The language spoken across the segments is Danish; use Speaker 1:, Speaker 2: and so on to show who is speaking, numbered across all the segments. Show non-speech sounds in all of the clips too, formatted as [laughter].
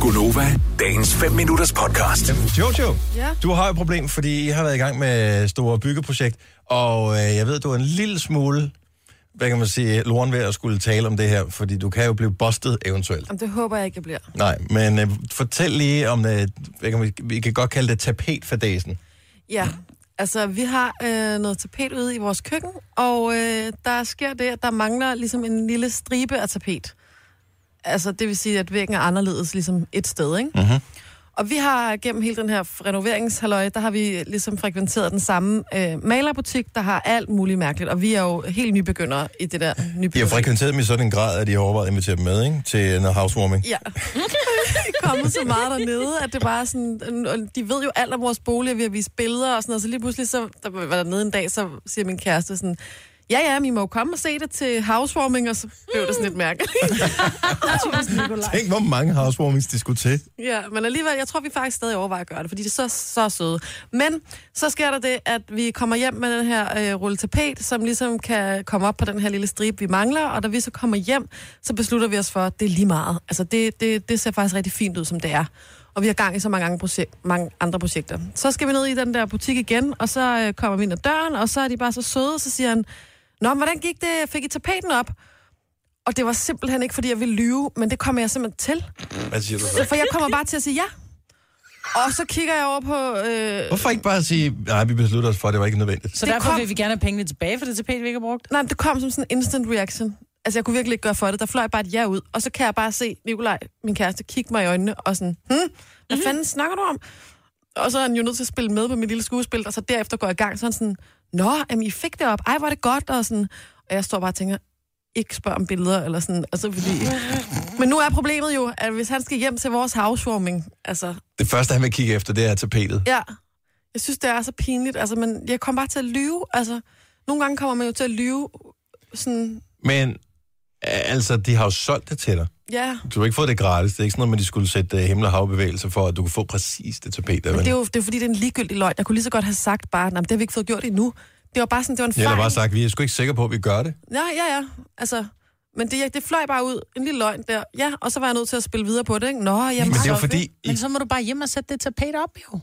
Speaker 1: Gunova, dagens 5 minutters podcast.
Speaker 2: Jojo,
Speaker 3: Ja.
Speaker 2: du har et problem, fordi I har været i gang med store byggeprojekt, og øh, jeg ved, du er en lille smule, hvad kan man sige, loren ved at skulle tale om det her, fordi du kan jo blive bustet eventuelt.
Speaker 3: Jamen, det håber jeg ikke, jeg bliver.
Speaker 2: Nej, men øh, fortæl lige om, øh, hvad kan man, vi kan godt kalde det tapetfadesen.
Speaker 3: Ja, altså vi har øh, noget tapet ude i vores køkken, og øh, der sker det, at der mangler ligesom en lille stribe af tapet. Altså det vil sige, at væggen er anderledes ligesom et sted, ikke?
Speaker 2: Mhm.
Speaker 3: Mm-hmm. Og vi har gennem hele den her renoveringshalløj, der har vi ligesom frekventeret den samme øh, malerbutik, der har alt muligt mærkeligt. Og vi er jo helt nybegyndere i det der
Speaker 2: De har
Speaker 3: nybyggeri.
Speaker 2: frekventeret dem i sådan en grad, at de har overvejet at invitere dem med ikke? til noget housewarming.
Speaker 3: Ja. [laughs] kommet så meget dernede, at det bare er sådan... og De ved jo alt om vores bolig, vi har vist billeder og sådan noget, så lige pludselig, så der var dernede en dag, så siger min kæreste sådan... Ja, ja, men I må jo komme og se det til housewarming, og så blev det sådan lidt mærkeligt. [laughs]
Speaker 2: Tænk, hvor mange housewarmings de skulle til.
Speaker 3: ja, men alligevel, jeg tror, vi faktisk stadig overvejer at gøre det, fordi de er så, så søde. Men så sker der det, at vi kommer hjem med den her øh, rulle tapet, som ligesom kan komme op på den her lille stribe, vi mangler, og da vi så kommer hjem, så beslutter vi os for, at det er lige meget. Altså, det, det, det ser faktisk rigtig fint ud, som det er. og vi har gang i så mange, andre projek- mange andre projekter. Så skal vi ned i den der butik igen, og så øh, kommer vi ind ad døren, og så er de bare så søde, og så siger han, Nå, men hvordan gik det? Fik I tapeten op? Og det var simpelthen ikke, fordi jeg ville lyve, men det kommer jeg simpelthen til.
Speaker 2: Hvad siger du
Speaker 3: For jeg kommer bare til at sige ja. Og så kigger jeg over på... Øh,
Speaker 2: Hvorfor ikke bare sige, nej, vi beslutter os for, at det var ikke nødvendigt?
Speaker 4: Så
Speaker 3: Det
Speaker 4: det derfor
Speaker 3: kom-
Speaker 4: kom... vil vi gerne have pengene tilbage for det tapet, vi ikke har brugt.
Speaker 3: nej, men det kom som sådan en instant reaction. Altså, jeg kunne virkelig ikke gøre for det. Der fløj bare et ja ud. Og så kan jeg bare se Nikolaj, min kæreste, kigge mig i øjnene og sådan, hm, hvad mm-hmm. fanden snakker du om? Og så er han jo nødt til at spille med på mit lille skuespil, og så derefter går jeg i gang, så er han sådan, nå, jamen, I fik det op, ej, hvor er det godt, og sådan. Og jeg står bare og tænker, ikke spørg om billeder, eller sådan, altså fordi... Men nu er problemet jo, at hvis han skal hjem til vores housewarming, altså,
Speaker 2: Det første, han vil kigge efter, det er tapetet.
Speaker 3: Ja. Jeg synes, det er så pinligt. Altså, men jeg kommer bare til at lyve. Altså, nogle gange kommer man jo til at lyve sådan...
Speaker 2: Men altså, de har jo solgt det til dig.
Speaker 3: Ja,
Speaker 2: Du har ikke fået det gratis. Det er ikke sådan noget, med, at de skulle sætte uh, himmel- og havbevægelser for, at du kunne få præcis det tapet der.
Speaker 3: men
Speaker 2: vel?
Speaker 3: det er jo det er, jo fordi, det er en ligegyldig løgn. Jeg kunne lige så godt have sagt bare, nej, det har vi ikke fået gjort endnu. Det var bare sådan, det var en
Speaker 2: Jeg
Speaker 3: fejl.
Speaker 2: har bare sagt, vi er sgu ikke sikre på, at vi gør det.
Speaker 3: Ja, ja, ja. Altså, men det, det fløj bare ud. En lille løgn der. Ja, og så var jeg nødt til at spille videre på det, ikke? Nå, jamen,
Speaker 2: Men det er jo
Speaker 3: så-
Speaker 2: fordi, I,
Speaker 4: Men så må du bare hjem og sætte det tapet op, jo.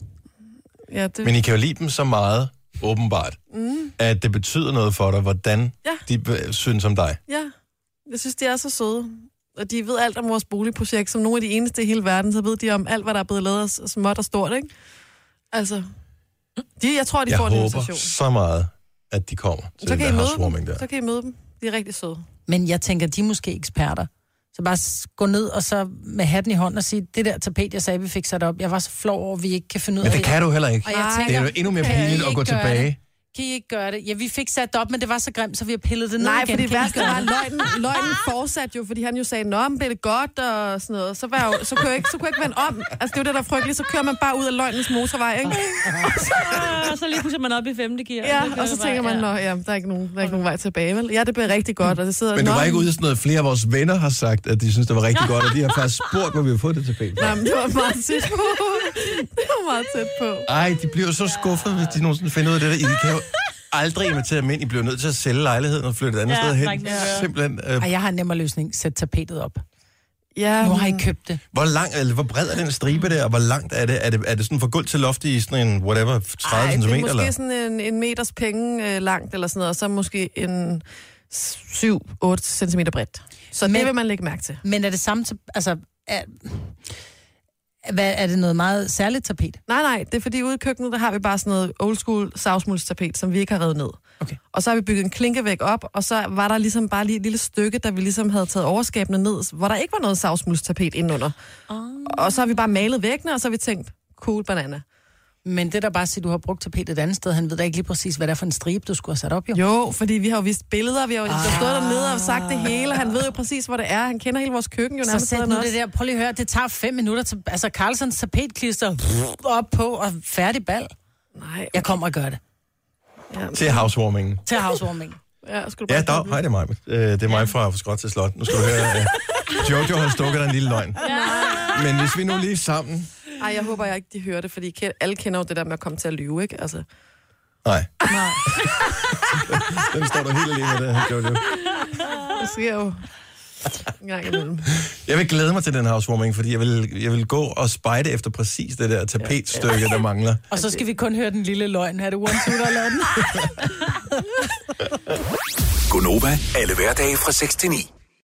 Speaker 3: Ja, det...
Speaker 2: men I kan jo lide dem så meget, åbenbart, mm. at det betyder noget for dig, hvordan
Speaker 3: Ja.
Speaker 2: de øh, synes om dig.
Speaker 3: ja. Jeg synes, de er så søde. Og de ved alt om vores boligprojekt. Som nogle af de eneste i hele verden, så ved de om alt, hvad der er blevet lavet af småt og stort, ikke? Altså, de, jeg tror, de
Speaker 2: Jeg
Speaker 3: får en
Speaker 2: håber
Speaker 3: invitation.
Speaker 2: så meget, at de kommer til
Speaker 3: Så
Speaker 2: den
Speaker 3: kan, I
Speaker 2: der
Speaker 3: møde
Speaker 2: housewarming
Speaker 3: dem.
Speaker 2: der.
Speaker 3: så kan I møde dem. De er rigtig søde.
Speaker 4: Men jeg tænker, de er måske eksperter. Så bare s- gå ned og så med hatten i hånden og sige, det der tapet, jeg sagde, vi fik sat op, jeg var så flov over, at vi ikke kan finde ud
Speaker 2: Men
Speaker 4: af
Speaker 2: det kan du heller ikke.
Speaker 4: Og jeg
Speaker 3: Nej.
Speaker 2: Det
Speaker 4: tænker,
Speaker 2: er jo endnu mere
Speaker 4: kan I
Speaker 2: pinligt at gå
Speaker 4: ikke gøre
Speaker 2: tilbage.
Speaker 4: Det? Kan I ikke gøre det? Ja, vi fik sat det op, men det var så grimt, så vi har pillet det ned
Speaker 3: Nej,
Speaker 4: igen.
Speaker 3: for det
Speaker 4: Kan I
Speaker 3: værste
Speaker 4: gøre
Speaker 3: var,
Speaker 4: det?
Speaker 3: at
Speaker 4: [laughs]
Speaker 3: løgnen, løgnen fortsatte jo, fordi han jo sagde, nå, men blev det godt og sådan noget. Så, var jeg jo, så, kunne jeg ikke, så kunne jeg ikke vende om. Altså, det er jo det, der er frygteligt. Så kører man bare ud af løgnens motorvej,
Speaker 4: [laughs]
Speaker 3: ikke?
Speaker 5: og så lige pludselig er man op i femte gear.
Speaker 3: Ja, og så tænker man, nå, ja, der er ikke nogen, der er ikke nogen vej tilbage, vel? Ja, det blev rigtig godt, og det sidder...
Speaker 2: Men du
Speaker 3: "Nå,
Speaker 2: var ikke ude i sådan noget, flere af vores venner har sagt, at de synes, det var
Speaker 3: [laughs]
Speaker 2: rigtig godt, og de har faktisk spurgt, hvor vi har fået det tapet. fra.
Speaker 3: Nej, men det var meget tæt på. Det var meget tæt på.
Speaker 2: Ej, de bliver jo så skuffet, hvis de nogensinde finder ud af det der. I kan jo aldrig invitere dem ind. I bliver nødt til at sælge lejligheden og flytte et andet
Speaker 5: Ja,
Speaker 2: sted hen.
Speaker 5: der er ikke noget at gøre.
Speaker 2: Simpelthen. Øh,
Speaker 4: Ej, jeg har en nemmere løsning. Sæt tapetet op.
Speaker 3: Ja,
Speaker 4: Nu har I købt det.
Speaker 2: hvor, lang, eller hvor bred er den stribe der, og hvor langt er det? Er det, er det sådan fra gulv til loft i sådan en whatever, 30
Speaker 3: Ej,
Speaker 2: cm?
Speaker 3: det er
Speaker 2: Eller?
Speaker 3: måske sådan en, en meters penge øh, langt, eller sådan noget, og så måske en 7-8 cm bredt. Så Men...
Speaker 4: Men-
Speaker 3: det vil man lægge mærke til.
Speaker 4: Men er det samme... tap- Altså, er, hvad, er det noget meget særligt tapet?
Speaker 3: Nej, nej, det er fordi ude i køkkenet, der har vi bare sådan noget old school savsmuldstapet, som vi ikke har revet ned.
Speaker 4: Okay.
Speaker 3: Og så har vi bygget en klinkevæg op, og så var der ligesom bare lige et lille stykke, der vi ligesom havde taget overskabene ned, hvor der ikke var noget savsmuldstapet indenunder. Oh. Og så har vi bare malet væggene, og så har vi tænkt, cool banana.
Speaker 4: Men det der bare siger, du har brugt tapetet et andet sted, han ved da ikke lige præcis, hvad det er for en stribe, du skulle have sat op, jo.
Speaker 3: Jo, fordi vi har jo vist billeder, vi har jo ah. stået dernede og sagt det hele, og han ved jo præcis, hvor det er. Han kender hele vores køkken jo
Speaker 4: Så
Speaker 3: nærmest.
Speaker 4: sæt
Speaker 3: bedre
Speaker 4: nu
Speaker 3: end os.
Speaker 4: det der, prøv lige at høre, det tager fem minutter til, altså Carlsons tapetklister op på og færdig bal.
Speaker 3: Nej,
Speaker 4: Jeg kommer og gør det.
Speaker 2: Til housewarmingen.
Speaker 4: Til housewarming.
Speaker 3: ja, skulle du
Speaker 2: Ja,
Speaker 3: bare
Speaker 2: dog. Hej, det er mig. Øh, Det er mig fra fra Skråt til Slot. Nu skal du høre, øh, Jojo har stukket dig en lille løgn. Men hvis vi nu lige sammen...
Speaker 3: Ej, jeg håber jeg ikke, de hører det, fordi ke- alle kender jo det der med at komme til at lyve, ikke? Altså,
Speaker 2: Nej. [laughs] Den står du helt alene med, det her, Jojo.
Speaker 3: det sker jo en gang imellem.
Speaker 2: Jeg vil glæde mig til den housewarming, fordi jeg vil, jeg vil gå og spejde efter præcis det der tapetstykke, der mangler.
Speaker 4: Og så skal vi kun høre den lille løgn. Er det one, two, der [laughs] laver den?
Speaker 1: Gonova, alle hverdage fra 6 til 9.